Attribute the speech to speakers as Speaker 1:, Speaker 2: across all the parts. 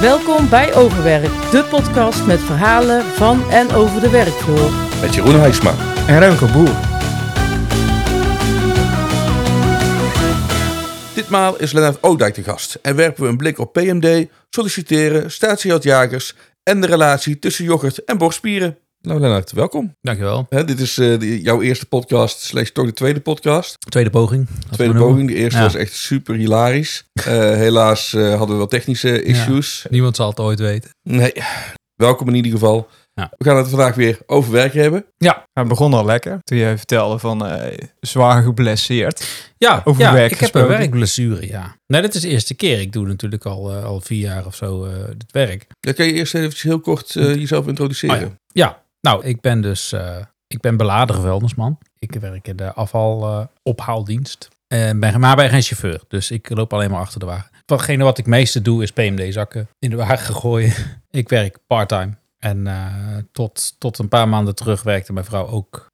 Speaker 1: Welkom bij Overwerk, de podcast met verhalen van en over de werkvloer.
Speaker 2: Met Jeroen Huisma.
Speaker 3: En Remco Boer.
Speaker 2: Ditmaal is Lennart Oudijk de gast en werpen we een blik op PMD, solliciteren, statiehoudjagers en de relatie tussen yoghurt en borstspieren. Nou Lennart, welkom.
Speaker 3: Dankjewel.
Speaker 2: Hè, dit is eh, die- jouw eerste podcast, slechts toch de tweede podcast.
Speaker 3: Tweede poging.
Speaker 2: tweede poging, de eerste
Speaker 3: Ja.
Speaker 2: was echt super hilarisch. Eh, helaas eh, hadden we wel technische issues.
Speaker 3: Niemand zal het ooit weten.
Speaker 2: Nee, welkom in ieder geval.
Speaker 3: Ja.
Speaker 2: We gaan het vandaag weer over werk hebben.
Speaker 4: Hij begon al lekker toen jij vertelde van eh, zwaar geblesseerd.
Speaker 5: Ja,
Speaker 4: Over
Speaker 5: ja
Speaker 4: werk
Speaker 5: ik heb een
Speaker 4: gesproken.
Speaker 5: werkblessure, ja. Nee, dat is de eerste keer. Ik doe natuurlijk al, eh, al vier jaar of zo eh, het dit werk.
Speaker 2: Dan kan je eerst even heel kort eh, jezelf introduceren.
Speaker 5: Oh Ja, nou, ik ben dus... eh, ik ben beladen vuilnisman. Ik werk in de afvalophaaldienst. en ben, maar ben geen chauffeur, dus ik loop alleen maar achter de wagen. Watgene wat ik meeste doe is PMD-zakken in de wagen gooien. ik werk part-time. En eh, tot, tot een paar maanden terug werkte mijn vrouw ook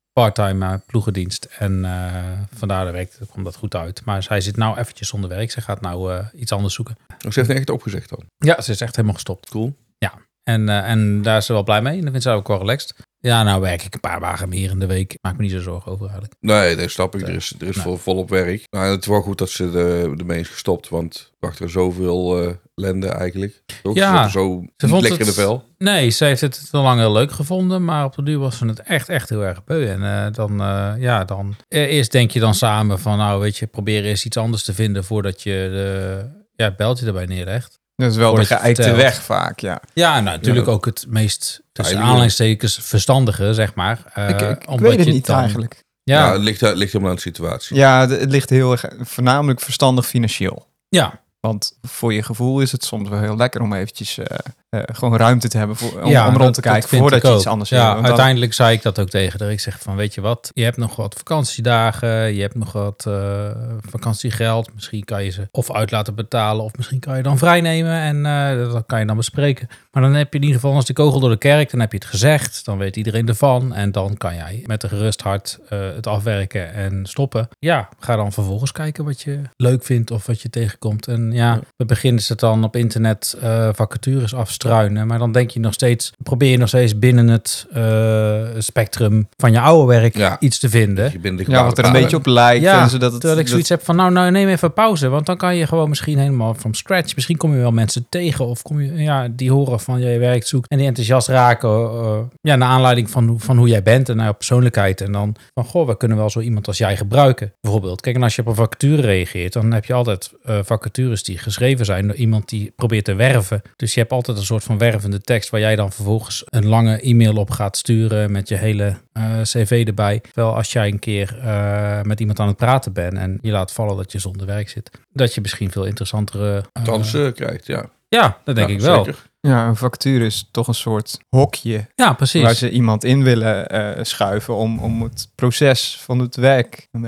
Speaker 5: part-time eh, ploegendienst. En eh vandaar dat werkte, kwam dat goed uit. Maar zij zit nou eventjes zonder werk. Ze gaat nou eh, iets anders zoeken.
Speaker 2: Ze heeft het echt opgezegd dan.
Speaker 5: Ja, ze is echt helemaal gestopt.
Speaker 2: Cool.
Speaker 5: Ja, en, eh, en daar is ze wel blij mee. En dat vindt ze ook wel relaxed. Ja, nou werk ik een paar dagen meer in de week. Maak me niet zo zorgen over eigenlijk.
Speaker 2: Nee, nee, snap ik. Er is, er is
Speaker 5: Nee.
Speaker 2: vol, volop werk. Nou, het is wel goed dat ze de- ermee is gestopt, want wacht er zoveel eh ellende eigenlijk. Toch?
Speaker 5: Ja.
Speaker 2: Ze zat zo niet
Speaker 5: vond
Speaker 2: lekker in de
Speaker 5: het-
Speaker 2: vel.
Speaker 5: Nee, ze heeft het te lang heel leuk gevonden. Maar op de duur was ze het echt, echt heel erg beu. En eh, dan, eh, ja, dan... eh, eerst denk je dan samen van, nou weet je, probeer eens iets anders te vinden voordat je de, ja, het beltje erbij neerlegt.
Speaker 4: Dat is wel de
Speaker 5: Voordat je
Speaker 4: geëikte
Speaker 5: vertelt.
Speaker 4: weg vaak, ja.
Speaker 5: Ja, nou, natuurlijk ook het meest, tussen
Speaker 2: Veilige.
Speaker 5: aanleidingstekens, verstandige, zeg maar. Eh,
Speaker 4: ik ik, ik
Speaker 5: omdat
Speaker 4: weet het
Speaker 5: je
Speaker 4: niet
Speaker 5: dan-
Speaker 4: eigenlijk.
Speaker 2: Ja,
Speaker 5: Ja,
Speaker 2: het ligt, het ligt helemaal aan de situatie.
Speaker 4: Ja, d- het ligt heel erg voornamelijk verstandig financieel.
Speaker 5: ja,
Speaker 4: Want voor je gevoel is het soms wel heel lekker om eventjes eh, eh, gewoon ruimte te hebben voor, om,
Speaker 5: Ja,
Speaker 4: om
Speaker 5: dat-
Speaker 4: rond te kijken
Speaker 5: dat vind
Speaker 4: voordat
Speaker 5: ik
Speaker 4: je
Speaker 5: ook.
Speaker 4: iets anders
Speaker 5: ja,
Speaker 4: wil. Want dan-
Speaker 5: Uiteindelijk zei ik dat ook tegen haar. Ik zeg van, weet je wat, je hebt nog wat vakantiedagen, je hebt nog wat eh, vakantiegeld. Misschien kan je ze of uit laten betalen of misschien kan je dan vrijnemen en eh, dat kan je dan bespreken. Maar dan heb je in ieder geval als de kogel door de kerk, dan heb je het gezegd, dan weet iedereen ervan en dan kan jij met een gerust hart eh, het afwerken en stoppen. Ja, ga dan vervolgens kijken wat je leuk vindt of wat je tegenkomt. En ja, we beginnen ze dan op internet eh, vacatures afstruinen, maar dan denk je nog steeds, probeer je nog steeds binnen het eh, spectrum van je oude werk
Speaker 2: Ja.
Speaker 5: iets te vinden.
Speaker 2: Je bent de
Speaker 4: ja, wat er een beetje op lijkt.
Speaker 5: Ja,
Speaker 4: en zodat het,
Speaker 5: Terwijl ik zoiets heb van, nou, nou neem even pauze. Want dan kan je gewoon misschien helemaal van scratch. Misschien kom je wel mensen tegen. Of kom je, ja, die horen van jij werkt, zoekt. En die enthousiast raken. eh, ja, naar aanleiding van, hoe- van hoe jij bent en naar jouw persoonlijkheid. En dan van, goh, we kunnen wel zo iemand als jij gebruiken. Bijvoorbeeld. Kijk, en als je op een vacature reageert, dan heb je altijd eh, vacatures die geschreven zijn door iemand die probeert te werven. Dus je hebt altijd een soort van wervende tekst waar jij dan vervolgens een lange e-mail op gaat sturen met je hele eh, cv erbij. Terwijl als jij een keer eh, met iemand aan het praten bent en je laat vallen dat je zonder werk zit, dat je misschien veel interessantere... eh,
Speaker 2: kansen krijgt. Ja,
Speaker 5: ja, dat denk
Speaker 2: Ja,
Speaker 5: ik wel.
Speaker 2: zeker.
Speaker 4: ja, een vacature is toch een soort hokje
Speaker 5: Ja,
Speaker 4: waar
Speaker 5: precies.
Speaker 4: ze iemand in willen eh, schuiven om, om het proces van het werk eh,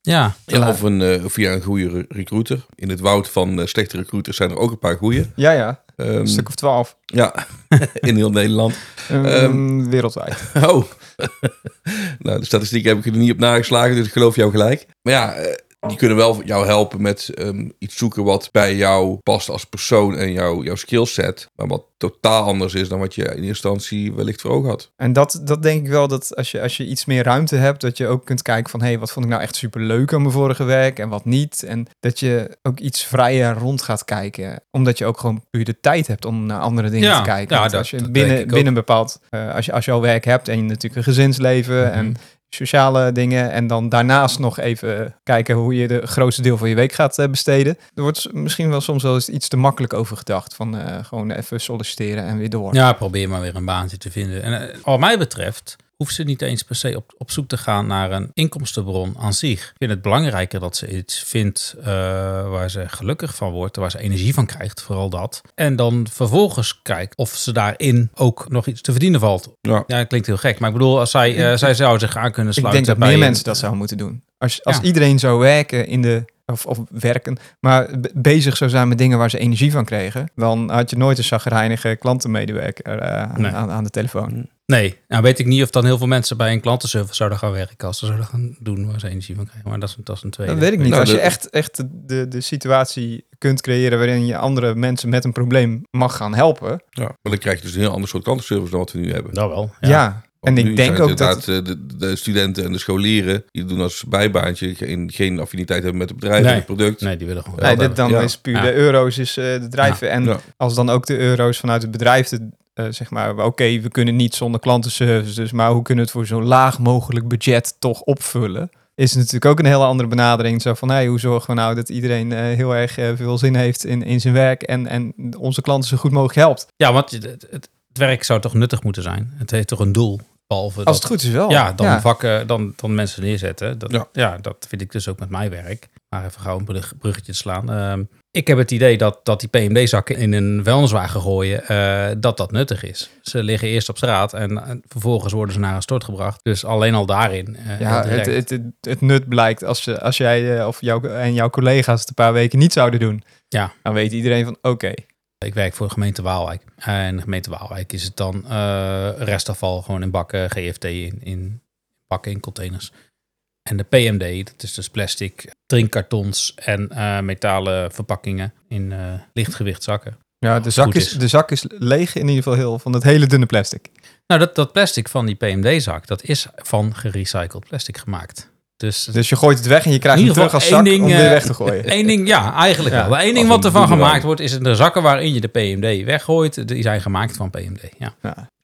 Speaker 5: Ja,
Speaker 2: Ja, of een, eh, via een goede re- recruiter. In het woud van eh, slechte recruiters zijn er ook een paar goede.
Speaker 4: Ja, ja.
Speaker 2: Ehm,
Speaker 4: Een stuk of twaalf.
Speaker 2: ja, in heel Nederland.
Speaker 4: Ehm,
Speaker 2: Ehm,
Speaker 4: wereldwijd.
Speaker 2: Oh. nou, de statistiek heb ik er niet op nageslagen, dus ik geloof jou gelijk. Maar ja, eh, die kunnen wel jou helpen met ehm, iets zoeken wat bij jou past als persoon en jou, jouw skillset. Maar wat totaal anders is dan wat je in eerste instantie wellicht voor ogen had.
Speaker 4: En dat, dat denk ik wel dat als je, als je iets meer ruimte hebt, dat je ook kunt kijken van hé, hey, wat vond ik nou echt super leuk aan mijn vorige werk en wat niet. En dat je ook iets vrijer rond gaat kijken, omdat je ook gewoon puur de tijd hebt om naar andere dingen
Speaker 5: Ja,
Speaker 4: te kijken.
Speaker 5: ja,
Speaker 4: Want
Speaker 5: dat-
Speaker 4: als je
Speaker 5: dat
Speaker 4: binnen,
Speaker 5: denk ik ook.
Speaker 4: binnen een bepaald, eh, als, je, als je al werk hebt en je natuurlijk een gezinsleven
Speaker 5: Mhm.
Speaker 4: en sociale dingen en dan daarnaast nog even kijken hoe je de grootste deel van je week gaat eh, besteden. Er wordt s- misschien wel soms wel eens iets te makkelijk over gedacht van eh, gewoon even solliciteren en weer door.
Speaker 5: Ja, probeer maar weer een baantje te vinden. En eh, wat mij betreft hoeft ze niet eens per se op, op zoek te gaan naar een inkomstenbron aan zich. Ik vind het belangrijker dat ze iets vindt eh, waar ze gelukkig van wordt, waar ze energie van krijgt, vooral dat. En dan vervolgens kijkt of ze daarin ook nog iets te verdienen valt.
Speaker 2: Ja.
Speaker 5: Ja, dat klinkt heel gek, maar ik bedoel, als zij, eh, zij zou zich aan kunnen
Speaker 4: Ik
Speaker 5: sluiten.
Speaker 4: denk dat
Speaker 5: bij
Speaker 4: meer
Speaker 5: een-
Speaker 4: mensen dat zouden moeten doen. Als, als
Speaker 5: Ja.
Speaker 4: iedereen zou werken in de, of, of werken, maar be- bezig zou zijn met dingen waar ze energie van kregen, dan had je nooit een chagrijnige klantenmedewerker eh, aan,
Speaker 5: Nee.
Speaker 4: aan, aan de telefoon.
Speaker 5: Nee, nou weet ik niet of dan heel veel mensen bij een klantenservice zouden gaan werken als ze zouden gaan doen waar ze energie van krijgen. Maar dat is, dat is een tweede.
Speaker 4: Dat weet ik niet.
Speaker 2: Nou,
Speaker 4: Als je
Speaker 2: dat-
Speaker 4: echt, echt de, de situatie kunt creëren waarin je andere mensen met een probleem mag gaan helpen.
Speaker 2: Ja. Maar dan krijg je dus een heel ander soort klantenservice dan wat we nu hebben.
Speaker 5: Dat wel.
Speaker 4: Ja.
Speaker 2: Want
Speaker 4: En
Speaker 2: nu
Speaker 4: ik denk
Speaker 2: zijn het
Speaker 4: ook dat.
Speaker 2: inderdaad, eh, De, de studenten en de scholieren, die doen als bijbaantje, geen, geen affiniteit hebben met het bedrijf
Speaker 5: Nee.
Speaker 2: en het product.
Speaker 5: Nee, die willen gewoon.
Speaker 4: Nee,
Speaker 5: geld
Speaker 4: dit
Speaker 5: hebben.
Speaker 4: dan
Speaker 2: Ja.
Speaker 4: is puur
Speaker 5: Ja.
Speaker 4: de euro's is eh, de drijven. En
Speaker 2: Ja.
Speaker 4: als dan ook de euro's vanuit het bedrijf, de, eh, zeg maar, oké, we kunnen niet zonder klantenservice, dus maar hoe kunnen we het voor zo laag mogelijk budget toch opvullen? Is natuurlijk ook een hele andere benadering. Zo van, hey, hoe zorgen we nou dat iedereen eh, heel erg eh, veel zin heeft in, in zijn werk en, en onze klanten zo goed mogelijk helpt?
Speaker 5: Ja, want het, het, het werk zou toch nuttig moeten zijn? Het heeft toch een doel? Behalve
Speaker 4: Als
Speaker 5: dat-
Speaker 4: het goed oh, is wel.
Speaker 5: Ja, dan vakken, dan, dan mensen neerzetten. Dat,
Speaker 2: Ja.
Speaker 5: ja. dat vind ik dus ook met mijn werk. Maar even gauw een brug- bruggetje te slaan. Ehm, ik heb het idee dat, dat die PMD-zakken in een vuilniswagen gooien, eh, dat dat nuttig is. Ze liggen eerst op straat en eh, vervolgens worden ze naar een stort gebracht. Dus alleen al daarin. eh,
Speaker 4: Ja, het,
Speaker 5: direct.
Speaker 4: het, het, het nut blijkt als, je, als jij eh, of jou, en jouw collega's het een paar weken niet zouden doen.
Speaker 5: Ja.
Speaker 4: Dan weet iedereen van, oké.
Speaker 5: Ik werk voor de gemeente Waalwijk. En de gemeente Waalwijk is het dan eh, restafval gewoon in bakken, GFT in, in bakken, in containers. En de PMD, dat is dus plastic, drinkkartons en eh, metalen verpakkingen in eh, lichtgewicht zakken.
Speaker 4: Ja, de
Speaker 5: goed
Speaker 4: zak, is,
Speaker 5: is.
Speaker 4: de zak is leeg in ieder geval heel van dat hele dunne plastic.
Speaker 5: Nou, dat, dat plastic van die PMD-zak, dat is van gerecycled plastic gemaakt. Dus
Speaker 4: Dus je gooit het weg en je krijgt
Speaker 5: In
Speaker 4: hem
Speaker 5: ieder
Speaker 4: terug
Speaker 5: geval
Speaker 4: als zak
Speaker 5: één
Speaker 4: om
Speaker 5: ding,
Speaker 4: weer
Speaker 5: eh,
Speaker 4: weg te gooien.
Speaker 5: Eén ding, ja, eigenlijk
Speaker 4: Ja,
Speaker 5: wel. Eén ding
Speaker 2: als
Speaker 5: wat
Speaker 2: een
Speaker 5: ervan
Speaker 2: boemerang.
Speaker 5: gemaakt wordt, is de zakken waarin je de PMD weggooit. Die zijn gemaakt van PMD, ja.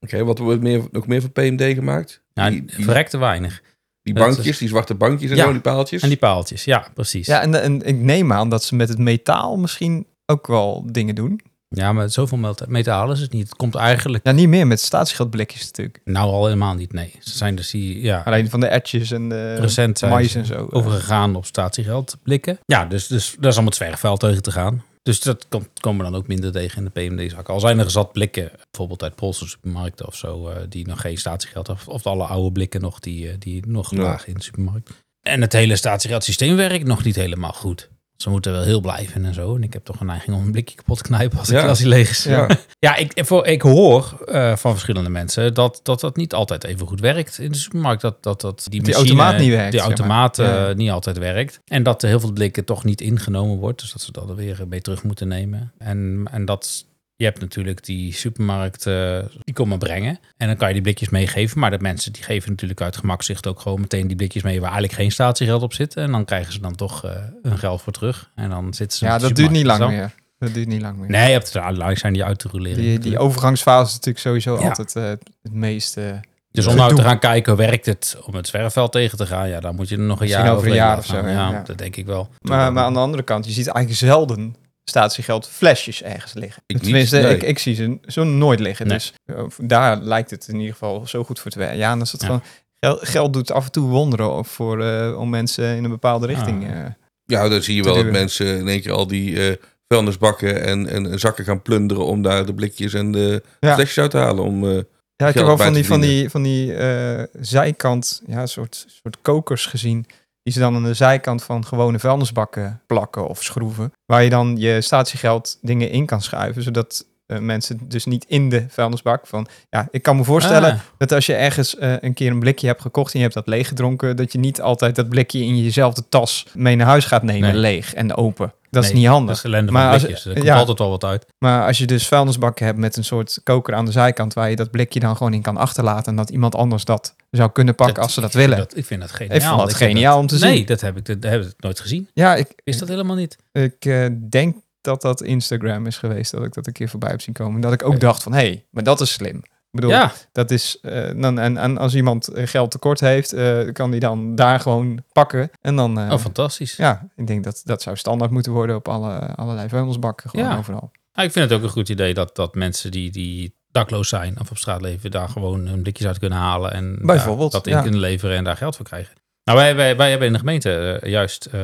Speaker 2: Oké, wat wordt meer, nog meer van PMD gemaakt?
Speaker 5: Nou,
Speaker 2: die, die,
Speaker 5: verrekte weinig.
Speaker 2: die
Speaker 5: dat
Speaker 2: bankjes,
Speaker 5: is-
Speaker 2: die zwarte bankjes en
Speaker 5: Ja.
Speaker 2: zo, die paaltjes.
Speaker 5: En die paaltjes, ja, precies.
Speaker 4: Ja, en, en ik neem aan dat ze met het metaal misschien ook wel dingen doen.
Speaker 5: Ja, maar zoveel met- metaal is het niet. Het komt eigenlijk
Speaker 4: Ja, niet meer met statiegeldblikjes natuurlijk.
Speaker 5: nou al helemaal niet, nee. Ze zijn dus die, ja,
Speaker 4: Alleen van de etjes en
Speaker 2: Eh,
Speaker 4: de
Speaker 5: recent zijn
Speaker 4: mais
Speaker 5: ze
Speaker 4: en zo.
Speaker 5: overgegaan op statiegeld blikken. Ja, dus, dus daar is allemaal het zwergvuil tegen te gaan. Dus dat komt, komen we dan ook minder tegen in de PMD-zakken. Al zijn er zat blikken, bijvoorbeeld uit Poolse supermarkten of zo, eh, die nog geen statiegeld hebben. Of alle oude blikken nog, die, eh, die nog
Speaker 2: Ja.
Speaker 5: lagen in de supermarkt. En het hele statiegeldsysteem werkt nog niet helemaal goed. Ze moeten wel heel blijven en zo. En ik heb toch een neiging om een blikje kapot te knijpen als, ik,
Speaker 2: Ja.
Speaker 5: als hij leeg is.
Speaker 2: ja.
Speaker 5: Ja, ik, voor- ik hoor eh, van verschillende mensen dat, dat dat niet altijd even goed werkt in de supermarkt. Dat, dat, dat die,
Speaker 4: Die
Speaker 5: machine-
Speaker 4: automaat niet werkt,
Speaker 5: Die
Speaker 4: zeg maar.
Speaker 5: automaat eh,
Speaker 4: Ja.
Speaker 5: niet altijd werkt. En dat er heel veel blikken toch niet ingenomen wordt. Dus dat ze dat er weer mee terug moeten nemen. En, en dat... Je hebt natuurlijk die supermarkt, eh, die komen brengen. En dan kan je die blikjes meegeven. Maar de mensen die geven natuurlijk uit gemakzicht ook gewoon meteen die blikjes mee... waar eigenlijk geen statiegeld op zit. En dan krijgen ze dan toch eh, hun geld voor terug. En dan zitten ze...
Speaker 4: ja,
Speaker 5: met de
Speaker 4: dat duurt niet
Speaker 5: supermarkt.
Speaker 4: lang
Speaker 5: Dus
Speaker 4: meer. Dat duurt niet lang meer.
Speaker 5: dan- Nee, je hebt er uiteindelijk zijn die uit te roleren.
Speaker 4: Die, die overgangsfase is natuurlijk sowieso
Speaker 5: Ja.
Speaker 4: altijd eh, het meest... eh,
Speaker 5: Dus om
Speaker 4: Gedoe.
Speaker 5: nou te gaan kijken, werkt het om het zwerfveld tegen te gaan? Ja, dan moet je er nog een
Speaker 4: Misschien
Speaker 5: jaar
Speaker 4: over een jaar
Speaker 5: laten
Speaker 4: of zo,
Speaker 5: gaan.
Speaker 4: ja,
Speaker 5: Ja,
Speaker 4: ja.
Speaker 5: dat denk ik wel.
Speaker 4: Maar, maar aan de andere kant, je ziet eigenlijk zelden statiegeld flesjes ergens liggen.
Speaker 2: Ik niet,
Speaker 4: Tenminste,
Speaker 2: nee.
Speaker 4: ik, ik zie ze zo nooit liggen.
Speaker 5: Nee.
Speaker 4: Dus eh, daar lijkt het in ieder geval zo goed voor te werken. Ja, en dat is het
Speaker 5: Ja.
Speaker 4: gewoon... Geld, geld doet af en toe wonderen ook voor, eh, om mensen in een bepaalde richting...
Speaker 5: Ah.
Speaker 4: eh,
Speaker 2: Ja, dan zie je
Speaker 4: te
Speaker 2: wel dat
Speaker 4: duwen.
Speaker 2: mensen in één keer al die eh, vuilnisbakken en, en zakken gaan plunderen om daar de blikjes en de
Speaker 4: Ja.
Speaker 2: flesjes uit te halen. Om, eh,
Speaker 4: ja, ik heb
Speaker 2: Geld
Speaker 4: wel
Speaker 2: bij
Speaker 4: van
Speaker 2: te
Speaker 4: die, van die, van die eh, zijkant, ja, een soort, soort kokers gezien... die ze dan aan de zijkant van gewone vuilnisbakken plakken of schroeven... waar je dan je statiegeld dingen in kan schuiven... zodat eh, mensen dus niet in de vuilnisbak van... Ja, ik kan me voorstellen
Speaker 5: Ah,
Speaker 4: Dat als je ergens eh, een keer een blikje hebt gekocht en je hebt dat leeggedronken, dat je niet altijd dat blikje in jezelfde tas mee naar huis gaat nemen,
Speaker 5: Nee.
Speaker 4: leeg en open. Dat is
Speaker 5: nee,
Speaker 4: niet handig.
Speaker 5: Dat is ellende
Speaker 4: Maar
Speaker 5: van
Speaker 4: als-
Speaker 5: blikjes. Er komt
Speaker 4: ja.
Speaker 5: altijd wel wat uit.
Speaker 4: Maar als je dus vuilnisbakken hebt met een soort koker aan de zijkant, waar je dat blikje dan gewoon in kan achterlaten en dat iemand anders dat zou kunnen pakken als ze dat
Speaker 5: ik vind
Speaker 4: willen.
Speaker 5: Dat, ik vind dat geniaal.
Speaker 4: ik vond dat
Speaker 5: Ik vind
Speaker 4: geniaal om te
Speaker 5: dat-
Speaker 4: zien.
Speaker 5: nee, dat heb ik, dat, heb ik nooit gezien.
Speaker 4: Ja, ik,
Speaker 5: Is dat helemaal niet?
Speaker 4: ik eh, denk dat dat Instagram is geweest, dat ik dat een keer voorbij heb zien komen. Dat ik ook dacht van, hé, hey, maar dat is slim. Ik bedoel,
Speaker 5: Ja,
Speaker 4: Dat is, eh, dan, en, en als iemand eh, geld tekort heeft, eh, kan die dan daar gewoon pakken. En dan, eh,
Speaker 5: oh, fantastisch.
Speaker 4: ja, ik denk dat dat zou standaard moeten worden op alle, allerlei vuilnisbakken, gewoon
Speaker 5: Ja.
Speaker 4: overal.
Speaker 5: Ah, ik vind het ook een goed idee dat, dat mensen die, die dakloos zijn of op straat leven, daar gewoon hun blikjes uit kunnen halen en daar
Speaker 4: Bijvoorbeeld,
Speaker 5: dat in
Speaker 4: ja.
Speaker 5: kunnen leveren en daar geld voor krijgen. Nou, wij, wij, wij hebben in de gemeente eh, juist eh,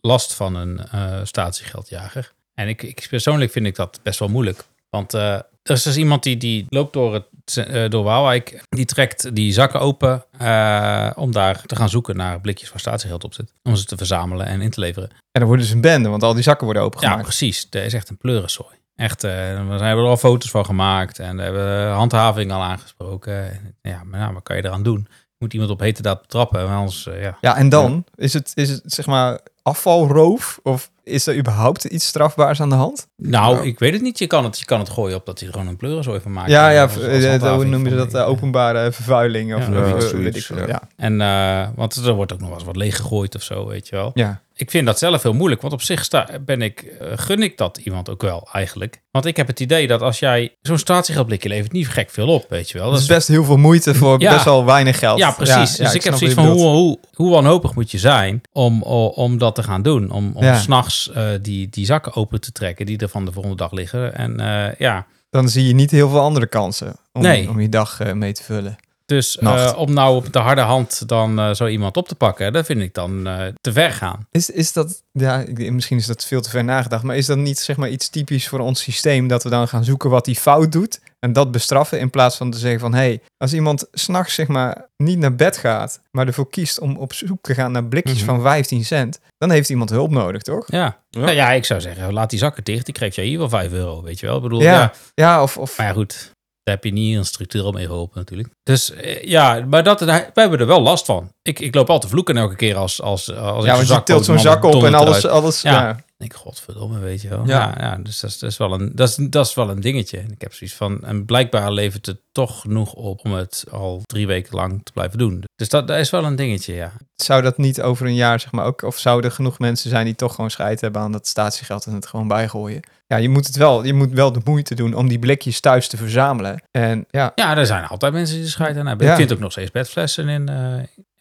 Speaker 5: last van een eh, statiegeldjager. En ik, ik persoonlijk vind ik dat best wel moeilijk. Want eh, er is dus iemand die, die loopt door, het, ce- eh, door Waalwijk, die trekt die zakken open eh, om daar te gaan zoeken naar blikjes waar statiegeld op zit. Om ze te verzamelen en in te leveren.
Speaker 4: En dan worden ze een bende, want al die zakken worden
Speaker 5: Ja,
Speaker 4: opengemaakt.
Speaker 5: precies. Er is echt een pleurensooi. Echt, eh, we hebben er al foto's van gemaakt en we hebben handhaving al aangesproken. En, Ja, maar nou, wat kan je eraan doen? Moet iemand op hete daad betrappen, want anders, eh, ja.
Speaker 4: Ja, en dan is het, is het zeg maar afvalroof? Of is er überhaupt iets strafbaars aan de hand?
Speaker 5: Nou,
Speaker 2: Nou.
Speaker 5: ik weet het niet. Je kan het, je kan het gooien op dat hij er gewoon een pleurenzooi van maakt.
Speaker 4: ja,
Speaker 5: Eh,
Speaker 4: ja,
Speaker 5: als-
Speaker 4: v-
Speaker 5: als
Speaker 4: eh, dat- hoe
Speaker 5: handhaving
Speaker 4: noemen ze
Speaker 5: van
Speaker 4: dat?
Speaker 5: die,
Speaker 4: eh,
Speaker 5: eh,
Speaker 4: openbare vervuiling of
Speaker 5: Ja,
Speaker 4: eh,
Speaker 2: zoiets,
Speaker 4: weet ik veel.
Speaker 2: ja.
Speaker 4: Ja.
Speaker 5: En, eh, want er wordt ook nog wel eens wat leeggegooid of zo, weet je wel.
Speaker 4: Ja.
Speaker 5: Ik vind dat zelf heel moeilijk, want op zich sta, ben ik, eh, gun ik dat iemand ook wel eigenlijk. Want ik heb het idee dat als jij zo'n statiegeldblikje levert, niet gek veel op, weet je wel.
Speaker 4: Dat
Speaker 5: Dat
Speaker 4: is
Speaker 5: is-
Speaker 4: Dus best heel veel moeite voor
Speaker 5: Ja.
Speaker 4: best wel weinig geld.
Speaker 5: ja, precies.
Speaker 4: ja,
Speaker 5: dus ik, heb
Speaker 4: snap
Speaker 5: zoiets
Speaker 4: wat
Speaker 5: van,
Speaker 4: je
Speaker 5: hoe,
Speaker 4: bedoelt.
Speaker 5: hoe, hoe wanhopig moet je zijn om, o- om dat te gaan doen? Om, om
Speaker 4: Ja.
Speaker 5: s'nachts eh, die, die zakken open te trekken die er van de volgende dag liggen. En eh, ja,
Speaker 4: Dan zie je niet heel veel andere kansen om,
Speaker 5: Nee.
Speaker 4: om je dag eh, mee te vullen.
Speaker 5: Dus
Speaker 4: Nacht.
Speaker 5: eh, om nou op de harde hand dan eh, zo iemand op te pakken, dat vind ik dan eh, te ver gaan.
Speaker 4: Is, is dat, ja, ik- misschien is dat veel te ver nagedacht, maar is dat niet zeg maar iets typisch voor ons systeem dat we dan gaan zoeken wat die fout doet en dat bestraffen in plaats van te zeggen van hé, hey, als iemand s'nachts zeg maar niet naar bed gaat, maar ervoor kiest om op zoek te gaan naar blikjes
Speaker 5: Mhm.
Speaker 4: van 15 cent, dan heeft iemand hulp nodig, toch?
Speaker 5: Ja.
Speaker 2: Ja.
Speaker 5: Nou ja, ik zou zeggen, laat die zakken dicht. Ik geef jij hier wel 5 euro, weet je wel. Ik bedoel, ja.
Speaker 4: Ja, ja. of, of
Speaker 5: Maar ja, goed, daar heb je niet een structuur mee geholpen natuurlijk. Dus eh, ja, maar dat, wij hebben er wel last van. Ik, ik loop al te vloeken elke keer als, als, als ik
Speaker 4: ja, want je tilt zo'n zak op en alles, eh, alles
Speaker 5: Ja.
Speaker 4: ja.
Speaker 5: Ik denk, godverdomme, weet je wel. Ja,
Speaker 4: Ja.
Speaker 5: ja, dus dat is, dat, is wel een, dat, is, dat is wel een dingetje. En ik heb zoiets van, en blijkbaar levert het toch genoeg op om het al drie weken lang te blijven doen. Dus dat, dat is wel een dingetje, ja.
Speaker 4: zou dat niet over een jaar, zeg maar, ook... Of zouden er genoeg mensen zijn die toch gewoon scheid hebben aan dat statiegeld en het gewoon bijgooien? Ja, je moet het wel, je moet wel de moeite doen om die blikjes thuis te verzamelen. En ja,
Speaker 5: Ja, er zijn altijd mensen die er scheid aan hebben.
Speaker 4: Ja.
Speaker 5: Ik vind ook nog steeds bedflessen in. eh,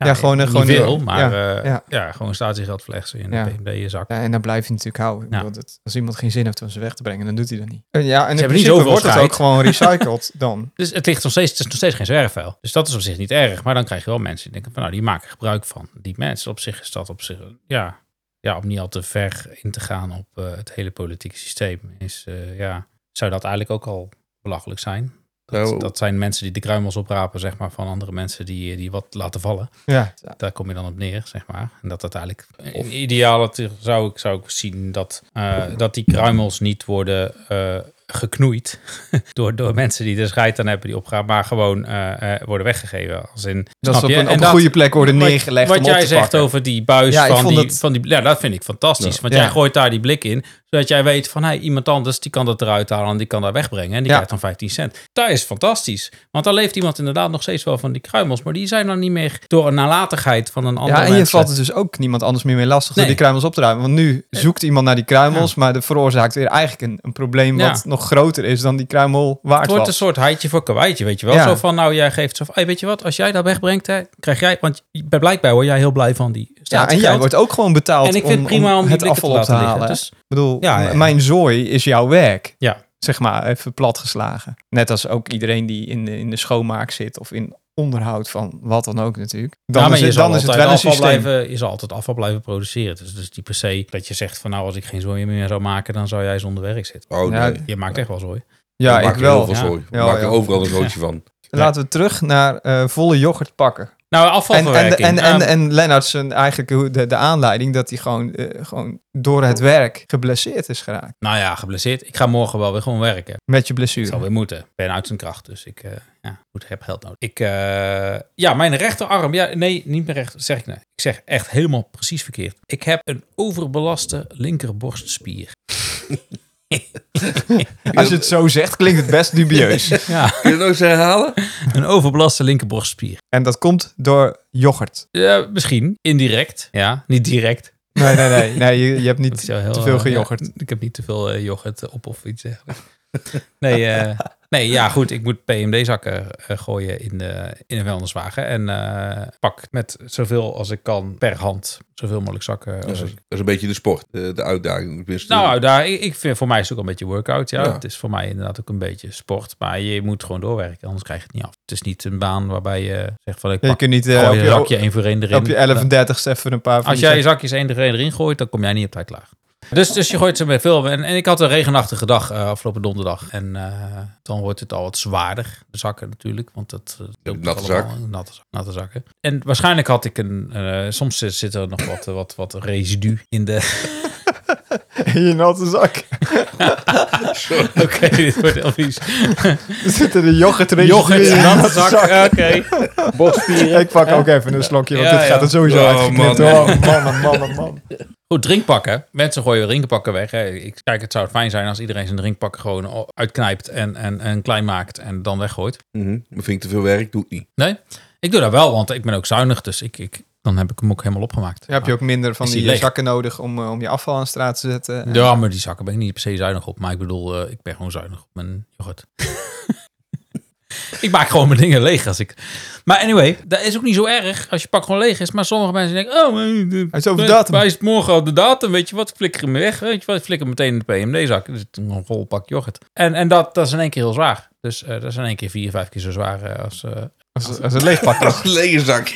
Speaker 4: Ja, gewoon, eh,
Speaker 5: niet
Speaker 4: gewoon-
Speaker 5: veel,
Speaker 4: ja,
Speaker 5: maar eh, ja,
Speaker 4: ja.
Speaker 5: gewoon statiegeldflessen in
Speaker 4: Ja.
Speaker 5: de PMD je zak.
Speaker 4: ja, en dan blijf je natuurlijk houden. Ik
Speaker 5: Ja.
Speaker 4: bedoel, dat, als iemand geen zin heeft om ze weg te brengen, dan doet hij dat niet. En ja, en
Speaker 5: hebben
Speaker 4: in
Speaker 5: niet
Speaker 4: principe
Speaker 5: zoveel
Speaker 4: wordt het
Speaker 5: scheid.
Speaker 4: ook gewoon recycled dan.
Speaker 5: Dus het ligt nog steeds, het is nog steeds geen zwerfvuil. Dus dat is op zich niet erg. Maar dan krijg je wel mensen die denken van, nou, die maken gebruik van die mensen. Op zich is dat op zich, eh, ja, ja om niet al te ver in te gaan op eh, het hele politieke systeem. Is, eh, ja, zou dat eigenlijk ook al belachelijk zijn? Dat,
Speaker 2: Nou.
Speaker 5: dat zijn mensen die de kruimels oprapen, zeg maar, van andere mensen die, die wat laten vallen.
Speaker 4: Ja,
Speaker 5: daar kom je dan op neer, zeg maar. En dat uiteindelijk, in ideale te- zou ik, zou ik zien dat, eh, dat die kruimels niet worden eh, geknoeid door, door mensen die er scheid aan hebben, die opgaan, maar gewoon eh, eh, worden weggegeven. Als in,
Speaker 4: dat
Speaker 5: snap
Speaker 4: ze op
Speaker 5: je?
Speaker 4: een,
Speaker 5: En
Speaker 4: op een
Speaker 5: dat-
Speaker 4: goede plek worden
Speaker 5: wat-
Speaker 4: neergelegd
Speaker 5: Wat
Speaker 4: om op
Speaker 5: jij
Speaker 4: te
Speaker 5: zegt
Speaker 4: pakken.
Speaker 5: over die buis
Speaker 4: Ja, ik
Speaker 5: van,
Speaker 4: vond
Speaker 5: die,
Speaker 4: dat-
Speaker 5: van die... Ja, dat vind ik fantastisch.
Speaker 2: Ja.
Speaker 5: Want
Speaker 4: Ja.
Speaker 5: jij gooit daar die blik in, zodat jij weet van... hé, iemand anders die kan dat eruit halen en die kan daar wegbrengen. En die
Speaker 4: Ja.
Speaker 5: krijgt dan 15 cent. Dat is fantastisch. Want dan leeft iemand inderdaad nog steeds wel van die kruimels. Maar die zijn dan niet meer door een nalatigheid van een ander
Speaker 4: Ja, en je
Speaker 5: mens-
Speaker 4: valt er dus ook niemand anders meer mee lastig
Speaker 5: Nee.
Speaker 4: door die kruimels op te ruimen. Want nu zoekt iemand naar die kruimels, maar dat veroorzaakt weer eigenlijk een, een probleem
Speaker 5: Ja.
Speaker 4: wat nog groter is dan die kruimel waard
Speaker 5: Het wordt een
Speaker 4: was.
Speaker 5: soort heitje voor kwijtje, weet je wel.
Speaker 4: Ja.
Speaker 5: Zo van, nou, jij geeft zo van... hé, weet je wat, als jij dat wegbrengt, hè, krijg jij... Want je- blijkbaar word jij heel blij van die
Speaker 4: Ja, en
Speaker 5: statiegeld.
Speaker 4: jij wordt ook gewoon betaald
Speaker 5: En ik vind
Speaker 4: om,
Speaker 5: het prima om, die
Speaker 4: het
Speaker 5: blikken
Speaker 4: afval
Speaker 5: te
Speaker 4: op te
Speaker 5: laten liggen.
Speaker 4: halen.
Speaker 5: Dus
Speaker 4: Ik bedoel,
Speaker 5: Ja, ja, ja.
Speaker 4: m- mijn zooi is jouw werk.
Speaker 5: Ja.
Speaker 4: Zeg maar, even platgeslagen. Net als ook iedereen die in de, in de schoonmaak zit of in onderhoud van wat dan ook natuurlijk. Dan
Speaker 5: ja, maar
Speaker 4: is, het,
Speaker 5: je zal
Speaker 4: dan is het
Speaker 5: altijd
Speaker 4: wel een
Speaker 5: afval
Speaker 4: systeem.
Speaker 5: blijven, je zal altijd afval blijven produceren. Dus, dus die per se dat je zegt van nou, als ik geen zooi meer zou maken, dan zou jij zonder werk zitten.
Speaker 2: Oh,
Speaker 4: Ja,
Speaker 2: nee.
Speaker 5: Je maakt echt wel zooi.
Speaker 4: Ja,
Speaker 2: We
Speaker 4: ik
Speaker 2: maken Heel
Speaker 4: wel.
Speaker 2: veel
Speaker 5: ja.
Speaker 2: zooi. We
Speaker 4: Ja,
Speaker 2: maken
Speaker 4: ja.
Speaker 2: overal een zootje van.
Speaker 4: Laten we terug naar eh, volle yoghurt pakken.
Speaker 5: Nou,
Speaker 4: En, en,
Speaker 5: afvalverwerking.
Speaker 4: en, en,
Speaker 5: Ehm,
Speaker 4: en Lennart zijn eigenlijk hoe- de, de aanleiding dat hij gewoon, eh, gewoon door het werk geblesseerd is geraakt.
Speaker 5: nou ja, geblesseerd. Ik ga morgen wel weer gewoon werken.
Speaker 4: Met je
Speaker 5: Ik zal
Speaker 4: blessure.
Speaker 5: weer moeten. Ik ben uit zijn kracht, dus ik eh, ja, goed, heb geld nodig. Ik, eh, ja, mijn rechterarm. Ja, nee, niet mijn rechter. Zeg ik nou. Ik zeg echt helemaal precies verkeerd. Ik heb een overbelaste linkerborstspier.
Speaker 4: Als je het zo zegt, klinkt het best dubieus.
Speaker 5: Ja,
Speaker 2: Kun je het nog eens herhalen?
Speaker 5: een overbelaste linkerborstspier.
Speaker 4: en dat komt door yoghurt.
Speaker 5: Ja, misschien indirect. Ja, niet direct.
Speaker 4: Nee, nee, nee. nee je, je hebt
Speaker 5: Dat
Speaker 4: niet
Speaker 5: is wel heel,
Speaker 4: te veel
Speaker 5: eh,
Speaker 4: gejoghurt.
Speaker 5: ja, ik heb niet te veel eh, yoghurt eh, op of iets dergelijks. nee, eh, nee, ja, goed. Ik moet PMD-zakken eh, gooien in de, in een vuilniswagen. En eh, pak met zoveel als ik kan per hand zoveel mogelijk zakken.
Speaker 2: Dat
Speaker 5: als
Speaker 2: is,
Speaker 5: ik-
Speaker 2: dat is een beetje de sport, eh, de, de uitdaging. Tenminste,
Speaker 5: nou, daar, ik, ik vind voor mij is het ook een beetje workout. Ja.
Speaker 2: Ja.
Speaker 5: het is voor mij inderdaad ook een beetje sport. Maar je moet gewoon doorwerken, anders krijg je het niet af. Het is niet een baan waarbij je zegt van ik
Speaker 4: Je
Speaker 5: pak
Speaker 4: kunt niet eh,
Speaker 5: gooi
Speaker 4: op
Speaker 5: een zakje
Speaker 4: je,
Speaker 5: één voor één erin.
Speaker 4: op je 11 en 30 even een paar van
Speaker 5: Als
Speaker 4: die
Speaker 5: jij je zakjes één er één erin gooit, dan kom jij niet op tijd klaar. Dus, dus je gooit ze met veel. En, en ik had een regenachtige dag eh, afgelopen donderdag. En eh, dan wordt het al wat zwaarder. De zakken natuurlijk. Want dat eh, loopt
Speaker 2: natte
Speaker 5: allemaal. Natte, zak- natte zakken. En waarschijnlijk had ik een. eh, soms zit, zit er nog wat, eh, wat, wat residu in de,
Speaker 4: in je natte zak.
Speaker 5: Oké, dit wordt heel vies.
Speaker 4: Er zitten de yoghurt erin.
Speaker 5: Yoghurt,
Speaker 4: in je
Speaker 5: natte
Speaker 4: natte
Speaker 5: zak, oké.
Speaker 4: Ja, Ik pak ook even een slokje, want
Speaker 5: Ja,
Speaker 4: dit
Speaker 5: ja.
Speaker 4: gaat er sowieso
Speaker 2: Oh,
Speaker 4: uitgeknipt.
Speaker 2: man.
Speaker 4: Oh, man, oh, man, oh, man.
Speaker 5: Goed, drinkpakken. Mensen gooien drinkpakken weg. Hè. Ik, kijk, het zou fijn zijn als iedereen zijn drinkpakken gewoon uitknijpt en, en, en klein maakt en dan weggooit.
Speaker 2: Mhm. Maar vind ik te veel werk, doe ik niet.
Speaker 5: Ik doe dat wel, want ik ben ook zuinig, dus ik, ik, dan heb ik hem ook helemaal opgemaakt.
Speaker 4: Dan heb je ook minder van
Speaker 5: Is die
Speaker 4: die
Speaker 5: leeg?
Speaker 4: zakken nodig om, eh, om je afval aan de straat te zetten.
Speaker 5: Ja, maar die zakken ben ik niet per se zuinig op. Maar ik bedoel, eh, ik ben gewoon zuinig op mijn yoghurt. ik maak gewoon mijn dingen leeg als ik... Maar anyway, dat is ook niet zo erg als je pak gewoon leeg is. Maar sommige mensen denken, oh, eh, eh,
Speaker 4: Hij is over de datum.
Speaker 5: Hij is morgen op de datum, weet je wat? Ik flikker hem weg, weet je wat? Ik flikker hem meteen in de PMD-zak. Dus een vol pak yoghurt. En, en dat, dat is in één keer heel zwaar. Dus eh, dat is in één keer vier, vijf keer zo zwaar eh, als, eh,
Speaker 4: Als, als het leegpakt.
Speaker 2: Als een lege zak.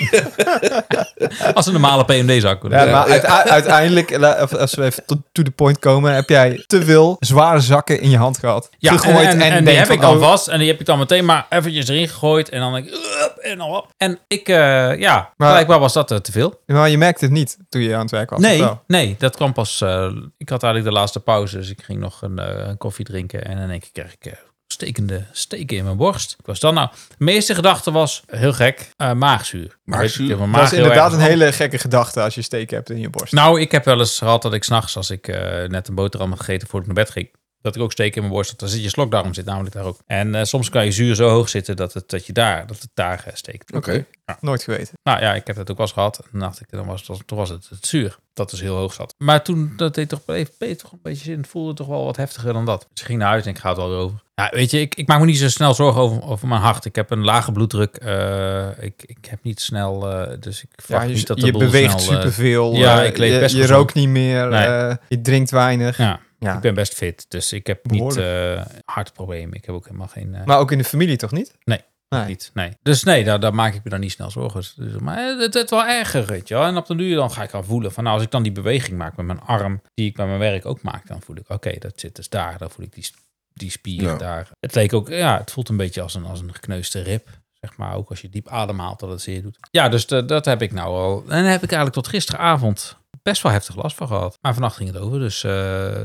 Speaker 5: als een normale PMD-zak.
Speaker 4: Ja, maar uite- uiteindelijk, la- of als we even to, to the point komen, heb jij te veel zware zakken in je hand gehad.
Speaker 5: Ja, en,
Speaker 4: Gegooid
Speaker 5: en- en die
Speaker 4: denkt
Speaker 5: heb
Speaker 4: van,
Speaker 5: ik dan
Speaker 4: oh,
Speaker 5: vast. En die heb ik dan meteen maar eventjes erin gegooid. En dan denk ik, "Up", en dan op. En ik, eh, ja,
Speaker 4: Maar-
Speaker 5: blijkbaar was dat eh, te veel.
Speaker 4: Maar je merkte het niet toen je aan het werk was. of
Speaker 5: Nee,
Speaker 4: wel?
Speaker 5: nee, dat kwam pas. eh, ik had eigenlijk de laatste pauze. Dus ik ging nog een, eh, een koffie drinken. En in één keer kreeg ik eh, stekende steken in mijn borst. Ik was dan nou. De meeste gedachte was, heel gek, eh, maagzuur.
Speaker 2: Maagzuur?
Speaker 5: Weet ik, mijn
Speaker 4: Dat is
Speaker 5: maag heel
Speaker 4: inderdaad
Speaker 5: erg-
Speaker 4: een hele gekke gedachte als je steek hebt in je borst.
Speaker 5: Nou, ik heb wel eens gehad dat ik s'nachts, als ik eh, net een boterham had gegeten voordat ik naar bed ging, dat ik ook steek in mijn borst. had. Dan zit je slokdarm, zit namelijk daar ook. En eh, soms kan je zuur zo hoog zitten dat het, dat je daar, dat het daar eh, steekt.
Speaker 2: Oké.
Speaker 4: Nooit geweten.
Speaker 5: Nou ja, ik heb dat ook wel eens gehad. En dan dacht ik, dan was, het- toen was het het zuur. Dat is heel hoog zat. Maar toen, dat deed toch even toch een beetje zin. Het voelde toch wel wat heftiger dan dat. Dus ik ging naar huis en ik ga het wel weer over. Ja, weet je, ik, ik maak me niet zo snel zorgen over, over mijn hart. Ik heb een lage bloeddruk. Eh, ik, ik heb niet snel, eh, dus ik
Speaker 4: Ja,
Speaker 5: verwacht
Speaker 4: je
Speaker 5: niet dat de
Speaker 4: je
Speaker 5: boel
Speaker 4: beweegt
Speaker 5: snel, eh,
Speaker 4: superveel.
Speaker 5: ja,
Speaker 4: eh,
Speaker 5: ik leef
Speaker 4: je,
Speaker 5: best
Speaker 4: je
Speaker 5: gezond.
Speaker 4: rookt niet meer.
Speaker 5: Nee.
Speaker 4: eh, je drinkt weinig.
Speaker 5: eh, ja.
Speaker 4: Ja.
Speaker 5: Ik ben best fit, dus ik heb niet eh, hartproblemen. Ik heb ook helemaal geen eh,
Speaker 4: Maar ook in de familie toch niet?
Speaker 5: Nee.
Speaker 4: Nee.
Speaker 5: niet. Nee. Dus nee, daar, daar maak ik me dan niet snel zorgen. Dus, maar het het werd wel erger, weet je wel. En op de duur dan ga ik al voelen van... nou, als ik dan die beweging maak met mijn arm... die ik bij mijn werk ook maak, dan voel ik... oké, dat zit dus daar. Dan voel ik die, die spier
Speaker 2: Ja.
Speaker 5: daar. Het leek ook... Ja, het voelt een beetje als een, als een gekneusde rib. Zeg maar, ook als je diep ademhaalt, dat het zeer doet. Ja, dus de- dat heb ik nou al. En daar heb ik eigenlijk tot gisteravond best wel heftig last van gehad. Maar vannacht ging het over, dus, eh,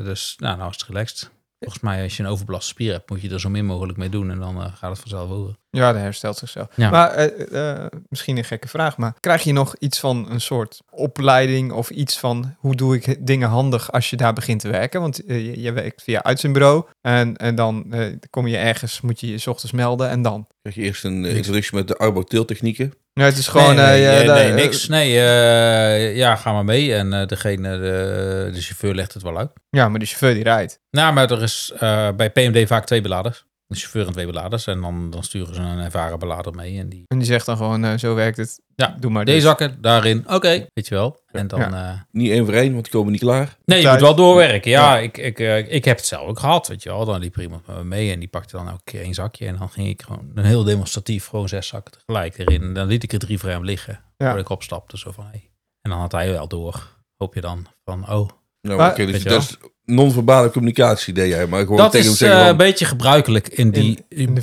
Speaker 5: dus nou, nou is het relaxed. Volgens mij, als je een overbelaste spier hebt, moet je er zo min mogelijk mee doen. En dan eh, gaat het vanzelf over.
Speaker 4: Ja, dat herstelt zichzelf.
Speaker 5: Ja.
Speaker 4: Maar eh, eh, misschien een gekke vraag, maar krijg je nog iets van een soort opleiding of iets van hoe doe ik dingen handig als je daar begint te werken? Want eh, je, je werkt via uitzendbureau en, en dan eh, kom je ergens, moet je je 's ochtends melden en dan.
Speaker 2: Krijg je eerst een eh, introductie met de arbouteeltechnieken.
Speaker 4: Nee, het is gewoon...
Speaker 5: nee, nee,
Speaker 4: eh,
Speaker 5: nee,
Speaker 4: je-
Speaker 5: nee,
Speaker 4: eh,
Speaker 5: niks. Nee, eh, ja, ga maar mee. En eh, degene, eh, de, de chauffeur legt het wel uit.
Speaker 4: Ja, maar de chauffeur die rijdt.
Speaker 5: Nou, maar er is eh, bij PMD vaak twee beladers. Een chauffeur en twee beladers. En dan, dan sturen ze een ervaren belader mee. En die,
Speaker 4: En die zegt dan gewoon, eh, zo werkt het.
Speaker 5: Ja,
Speaker 4: doe maar dus.
Speaker 5: deze
Speaker 4: dit.
Speaker 5: zakken, daarin. Oké, weet je wel. En dan... eh,
Speaker 2: Niet één voor één, want die komen niet klaar.
Speaker 5: Nee, je
Speaker 4: Tijd.
Speaker 5: moet wel doorwerken. Ja, Ik, ik, eh, ik heb het zelf ook gehad, weet je wel. Dan liep er iemand met me mee en die pakte dan elke keer één zakje. En dan ging ik gewoon een heel demonstratief gewoon zes zakken tegelijk erin. En dan liet ik er drie voor hem liggen, voordat ik opstapte. Zo van, hey. En dan had hij wel door, hoop je dan, van, oh.
Speaker 2: Nou,
Speaker 4: Maar-
Speaker 2: oké, dus
Speaker 5: Weet je
Speaker 2: dat is non-verbale communicatie, deed jij. Maar gewoon
Speaker 5: Dat
Speaker 2: tegen
Speaker 5: is
Speaker 2: hem
Speaker 5: eh,
Speaker 2: zeggen
Speaker 5: een
Speaker 2: van,
Speaker 5: beetje gebruikelijk in die, in,
Speaker 4: in de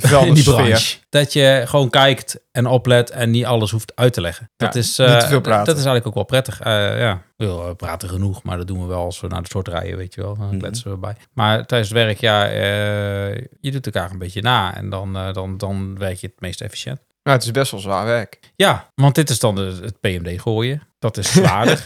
Speaker 4: vuilnissfeer.
Speaker 5: die branche. Dat je gewoon kijkt en oplet en niet alles hoeft uit te leggen. Dat
Speaker 4: Ja,
Speaker 5: is, eh,
Speaker 4: niet te veel
Speaker 5: dat-
Speaker 4: praten.
Speaker 5: Dat is eigenlijk ook wel prettig. Eh, ja, wel eh, praten genoeg, maar dat doen we wel als we naar de soort rijden, weet je wel. Dan
Speaker 2: Mhm.
Speaker 5: kletsen we bij. Maar tijdens het werk, ja, eh, je doet elkaar een beetje na en dan, eh, dan, dan werk je het meest efficiënt.
Speaker 4: Maar Nou, het is best wel zwaar werk.
Speaker 5: Ja, want dit is dan de- het PMD gooien. Dat is zwaarder.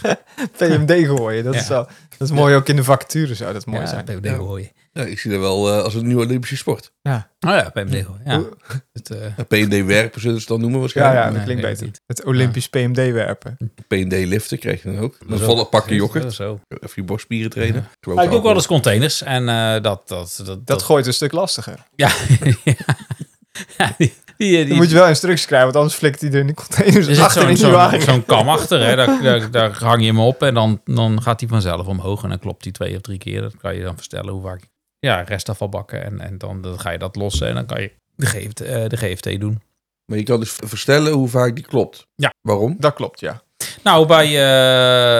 Speaker 4: PMD gooien, dat, is,
Speaker 5: Ja.
Speaker 4: wel, dat is mooi ook in de vacature zou dat mooi
Speaker 5: ja,
Speaker 4: zijn.
Speaker 5: PMD
Speaker 2: Ja.
Speaker 5: gooien.
Speaker 2: ja, ik zie dat wel eh, als een nieuwe Olympische sport.
Speaker 5: Oh ja, PMD gooien. Ja.
Speaker 4: Hoe-
Speaker 5: Het, eh,
Speaker 2: Ja, PND werpen zullen ze het dan noemen
Speaker 4: Ja,
Speaker 2: waarschijnlijk.
Speaker 4: ja, dat
Speaker 5: Nee,
Speaker 4: klinkt
Speaker 5: nee,
Speaker 4: beter.
Speaker 5: niet.
Speaker 4: Het Olympisch PMD werpen.
Speaker 2: PND liften krijg je dan ook. Een
Speaker 5: zo-
Speaker 2: volle pakken yoghurt.
Speaker 5: Zo.
Speaker 2: Even je borstspieren trainen. Ik geloof
Speaker 5: Ja, ik doe ook wel
Speaker 2: dat-
Speaker 5: eens containers. En eh, dat, dat, dat,
Speaker 4: Dat gooit een stuk lastiger.
Speaker 5: Ja. ja die, die,
Speaker 4: Dan
Speaker 5: die,
Speaker 4: moet je wel instructies krijgen, want anders flikt hij er in de
Speaker 5: er
Speaker 4: containers
Speaker 5: zit
Speaker 4: achter
Speaker 5: zo'n
Speaker 4: in die
Speaker 5: zo'n
Speaker 4: wagen.
Speaker 5: zo'n kam achter. Hè. Daar, daar, daar hang je hem op en dan, dan gaat hij vanzelf omhoog. En dan klopt hij twee of drie keer. Dat kan je dan verstellen hoe vaak. Ja, restafval bakken. En, en dan, dan ga je dat lossen. En dan kan je de, GFT, eh, de GFT doen.
Speaker 2: Maar je kan dus verstellen hoe vaak die klopt.
Speaker 5: Ja.
Speaker 2: Waarom?
Speaker 4: Dat klopt, ja.
Speaker 5: Nou, bij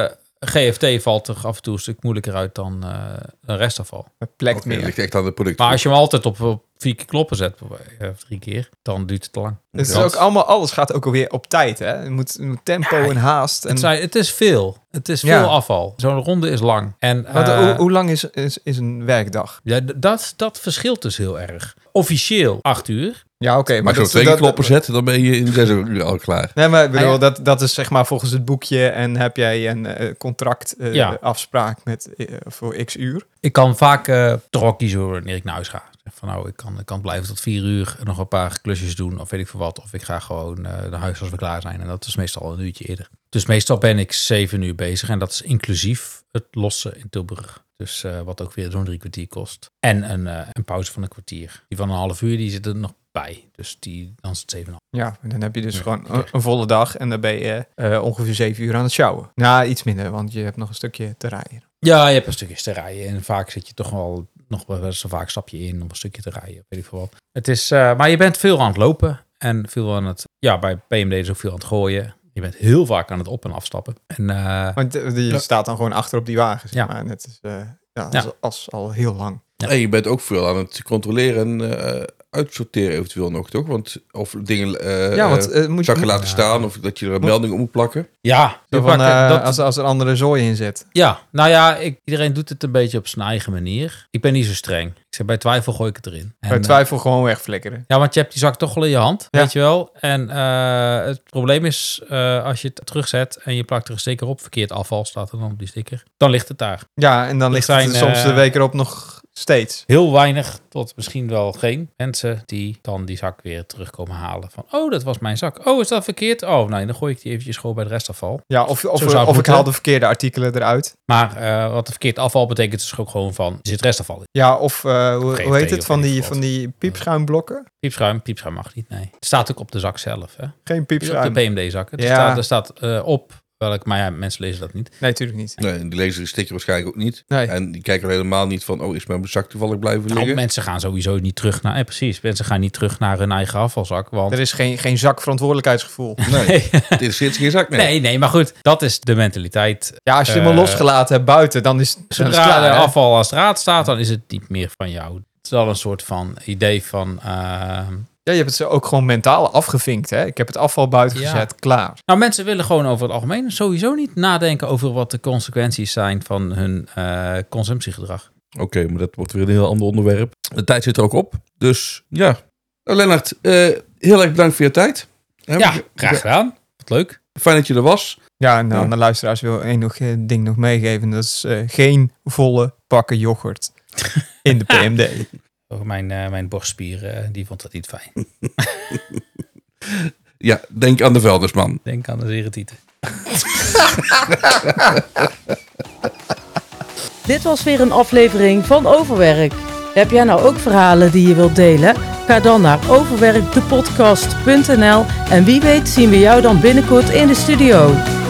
Speaker 5: eh, GFT valt er af en toe een stuk moeilijker uit dan eh, een restafval.
Speaker 4: Dat plekt
Speaker 2: Oké, dat
Speaker 4: meer.
Speaker 2: ligt echt aan het product.
Speaker 5: Maar als je hem altijd op, op vier keer kloppen zet, eh, of drie keer, dan duurt het te lang.
Speaker 4: Het is
Speaker 2: Ja.
Speaker 4: ook allemaal, alles gaat ook alweer op tijd. Hè? Je moet, je moet tempo en haast. En,
Speaker 5: Het, zijn- het is veel. Het is veel
Speaker 4: Ja.
Speaker 5: afval. Zo'n ronde is lang. En,
Speaker 4: Wat-
Speaker 5: eh,
Speaker 4: hoe, hoe lang is, is, is een werkdag?
Speaker 5: ja, d- dat, dat verschilt dus heel erg. Officieel acht uur.
Speaker 4: Ja, oké.
Speaker 2: Maar als je
Speaker 4: dat-
Speaker 2: nog twee
Speaker 4: dat-
Speaker 2: keer kloppen zet, dan ben je in zes uur al klaar.
Speaker 4: Nee, maar ik bedoel,
Speaker 5: Ah, ja.
Speaker 4: dat, dat is zeg maar volgens het boekje. En heb jij een eh, contract eh,
Speaker 5: Ja.
Speaker 4: afspraak met, eh, voor x uur.
Speaker 5: Ik kan vaak eh toch wel kiezen voor wanneer ik naar huis ga. Zeg Van nou, ik kan, ik kan blijven tot vier uur en nog een paar klusjes doen of weet ik veel wat. Of ik ga gewoon eh, naar huis als we klaar zijn. En dat is meestal een uurtje eerder. Dus meestal ben ik zeven uur bezig en dat is inclusief het lossen in Tilburg. Dus eh, wat ook weer zo'n drie kwartier kost. En een, eh, een pauze van een kwartier. Die van een half uur, die zit er nog bij. Dus die, dan is het zeven en een half.
Speaker 4: Ja, en dan heb je dus
Speaker 5: Ja.
Speaker 4: gewoon een, een volle dag. En dan ben je eh, ongeveer zeven uur aan het sjouwen. Nou, iets minder, want je hebt nog een stukje te rijden.
Speaker 5: Ja, je hebt een stukjes te rijden. En vaak zit je toch wel nog wel eens een vaak stap je in om een stukje te rijden. Weet ik veel wat. Het is, eh, maar je bent veel aan het lopen. En veel aan het, ja, bij PMD is ook veel aan het gooien. Je bent heel vaak aan het op- en afstappen. En eh,
Speaker 4: Want eh, je
Speaker 5: Ja.
Speaker 4: staat dan gewoon achter op die wagen. Zeg
Speaker 5: Ja.
Speaker 4: maar. En het is, eh, ja, dat
Speaker 5: Ja.
Speaker 4: is als al heel lang.
Speaker 5: Ja.
Speaker 2: En je bent ook veel aan het controleren en eh, uitsorteren eventueel nog, toch? Want, of dingen eh
Speaker 4: ja,
Speaker 2: eh,
Speaker 4: want eh, moet je...
Speaker 2: zakken laten
Speaker 5: Ja.
Speaker 2: staan of dat je er een
Speaker 4: Moet-
Speaker 2: melding om moet plakken.
Speaker 5: ja,
Speaker 4: Zo
Speaker 5: je
Speaker 4: van,
Speaker 5: pakt-
Speaker 4: eh,
Speaker 5: dat-
Speaker 4: als, als er andere zooi in zit.
Speaker 5: ja, nou ja, ik, iedereen doet het een beetje op zijn eigen manier. Ik ben niet zo streng. Ik zeg, bij twijfel gooi ik het erin. En,
Speaker 4: Bij
Speaker 5: eh,
Speaker 4: twijfel gewoon wegflikkeren.
Speaker 5: Ja, want je hebt die zak toch al in je hand,
Speaker 4: Ja.
Speaker 5: weet je wel. En eh, het probleem is, eh, als je het terugzet en je plakt er een sticker op, verkeerd afval staat er dan op die sticker, dan ligt het daar.
Speaker 4: Ja, en dan
Speaker 5: Er
Speaker 4: ligt het
Speaker 5: zijn,
Speaker 4: er soms
Speaker 5: eh,
Speaker 4: de week erop nog steeds.
Speaker 5: Heel weinig, tot misschien wel geen mensen die dan die zak weer terugkomen halen. Van, oh, dat was mijn zak. Oh, is dat verkeerd? Oh, nee, dan gooi ik die eventjes gewoon bij het restafval.
Speaker 4: Ja, of, of,
Speaker 5: Zo zou het
Speaker 4: of ik
Speaker 5: moeten.
Speaker 4: haal de verkeerde artikelen eruit.
Speaker 5: Maar eh, wat verkeerd afval betekent, is dus ook gewoon van, er zit restafval in.
Speaker 4: Ja, of eh, hoe,
Speaker 5: GFT
Speaker 4: hoe heet
Speaker 5: of
Speaker 4: het? Van
Speaker 5: weet ik
Speaker 4: die,
Speaker 5: wat.
Speaker 4: van die piepschuimblokken?
Speaker 5: Piepschuim, piepschuim mag niet, nee. Het staat ook op de zak zelf, hè.
Speaker 4: Geen
Speaker 5: Op
Speaker 4: piepschuim.
Speaker 5: de PMD-zak. Er
Speaker 4: Ja.
Speaker 5: staat, er staat eh, op, welk, maar ja, mensen lezen dat niet.
Speaker 4: Nee, natuurlijk niet.
Speaker 2: Nee, en die lezen die sticker waarschijnlijk ook niet.
Speaker 4: Nee.
Speaker 5: Eh,
Speaker 4: Oh,
Speaker 2: En die kijken er helemaal niet van, oh, is mijn zak toevallig blijven
Speaker 5: Nou,
Speaker 2: liggen?
Speaker 5: mensen gaan sowieso niet terug naar. Eh, precies, mensen gaan niet terug naar hun eigen afvalzak. Want.
Speaker 4: Er is geen, geen zak verantwoordelijkheidsgevoel.
Speaker 2: nee,
Speaker 5: Nee.
Speaker 2: dit is geen zak meer.
Speaker 5: nee, nee, maar goed, dat is de mentaliteit.
Speaker 4: Ja, als je hem
Speaker 5: Eh,
Speaker 4: al losgelaten hebt buiten, dan is, dan is het
Speaker 5: Zodra
Speaker 4: klaar.
Speaker 5: de
Speaker 4: hè?
Speaker 5: afval als straat staat, dan is het niet meer van jou. Het is wel een soort van idee van. ehm,
Speaker 4: Ja, je hebt het zo ook gewoon mentaal afgevinkt. Hè? Ik heb het afval buiten
Speaker 5: Ja.
Speaker 4: gezet, klaar.
Speaker 5: Nou, mensen willen gewoon over het algemeen sowieso niet nadenken over wat de consequenties zijn van hun eh, consumptiegedrag.
Speaker 2: Oké, maar dat wordt weer een heel ander onderwerp. De tijd zit er ook op. Dus ja. Nou, Lennart, eh, heel erg bedankt voor je tijd. Hè,
Speaker 5: Ja,
Speaker 2: we-
Speaker 5: graag gedaan. Wat leuk.
Speaker 2: Fijn dat je er was.
Speaker 4: Ja, en
Speaker 2: Ja.
Speaker 4: dan de luisteraars wil één nog, eh, ding nog meegeven. Dat is eh, geen volle pakken yoghurt in de PMD.
Speaker 5: Ook mijn, eh, mijn borstspieren, eh, die vond dat niet fijn.
Speaker 2: Ja, denk aan de Veldersman.
Speaker 5: Denk aan de zere tieten.
Speaker 1: Dit was weer een aflevering van Overwerk. Heb jij nou ook verhalen die je wilt delen? Ga dan naar overwerkdepodcast.nl en wie weet zien we jou dan binnenkort in de studio.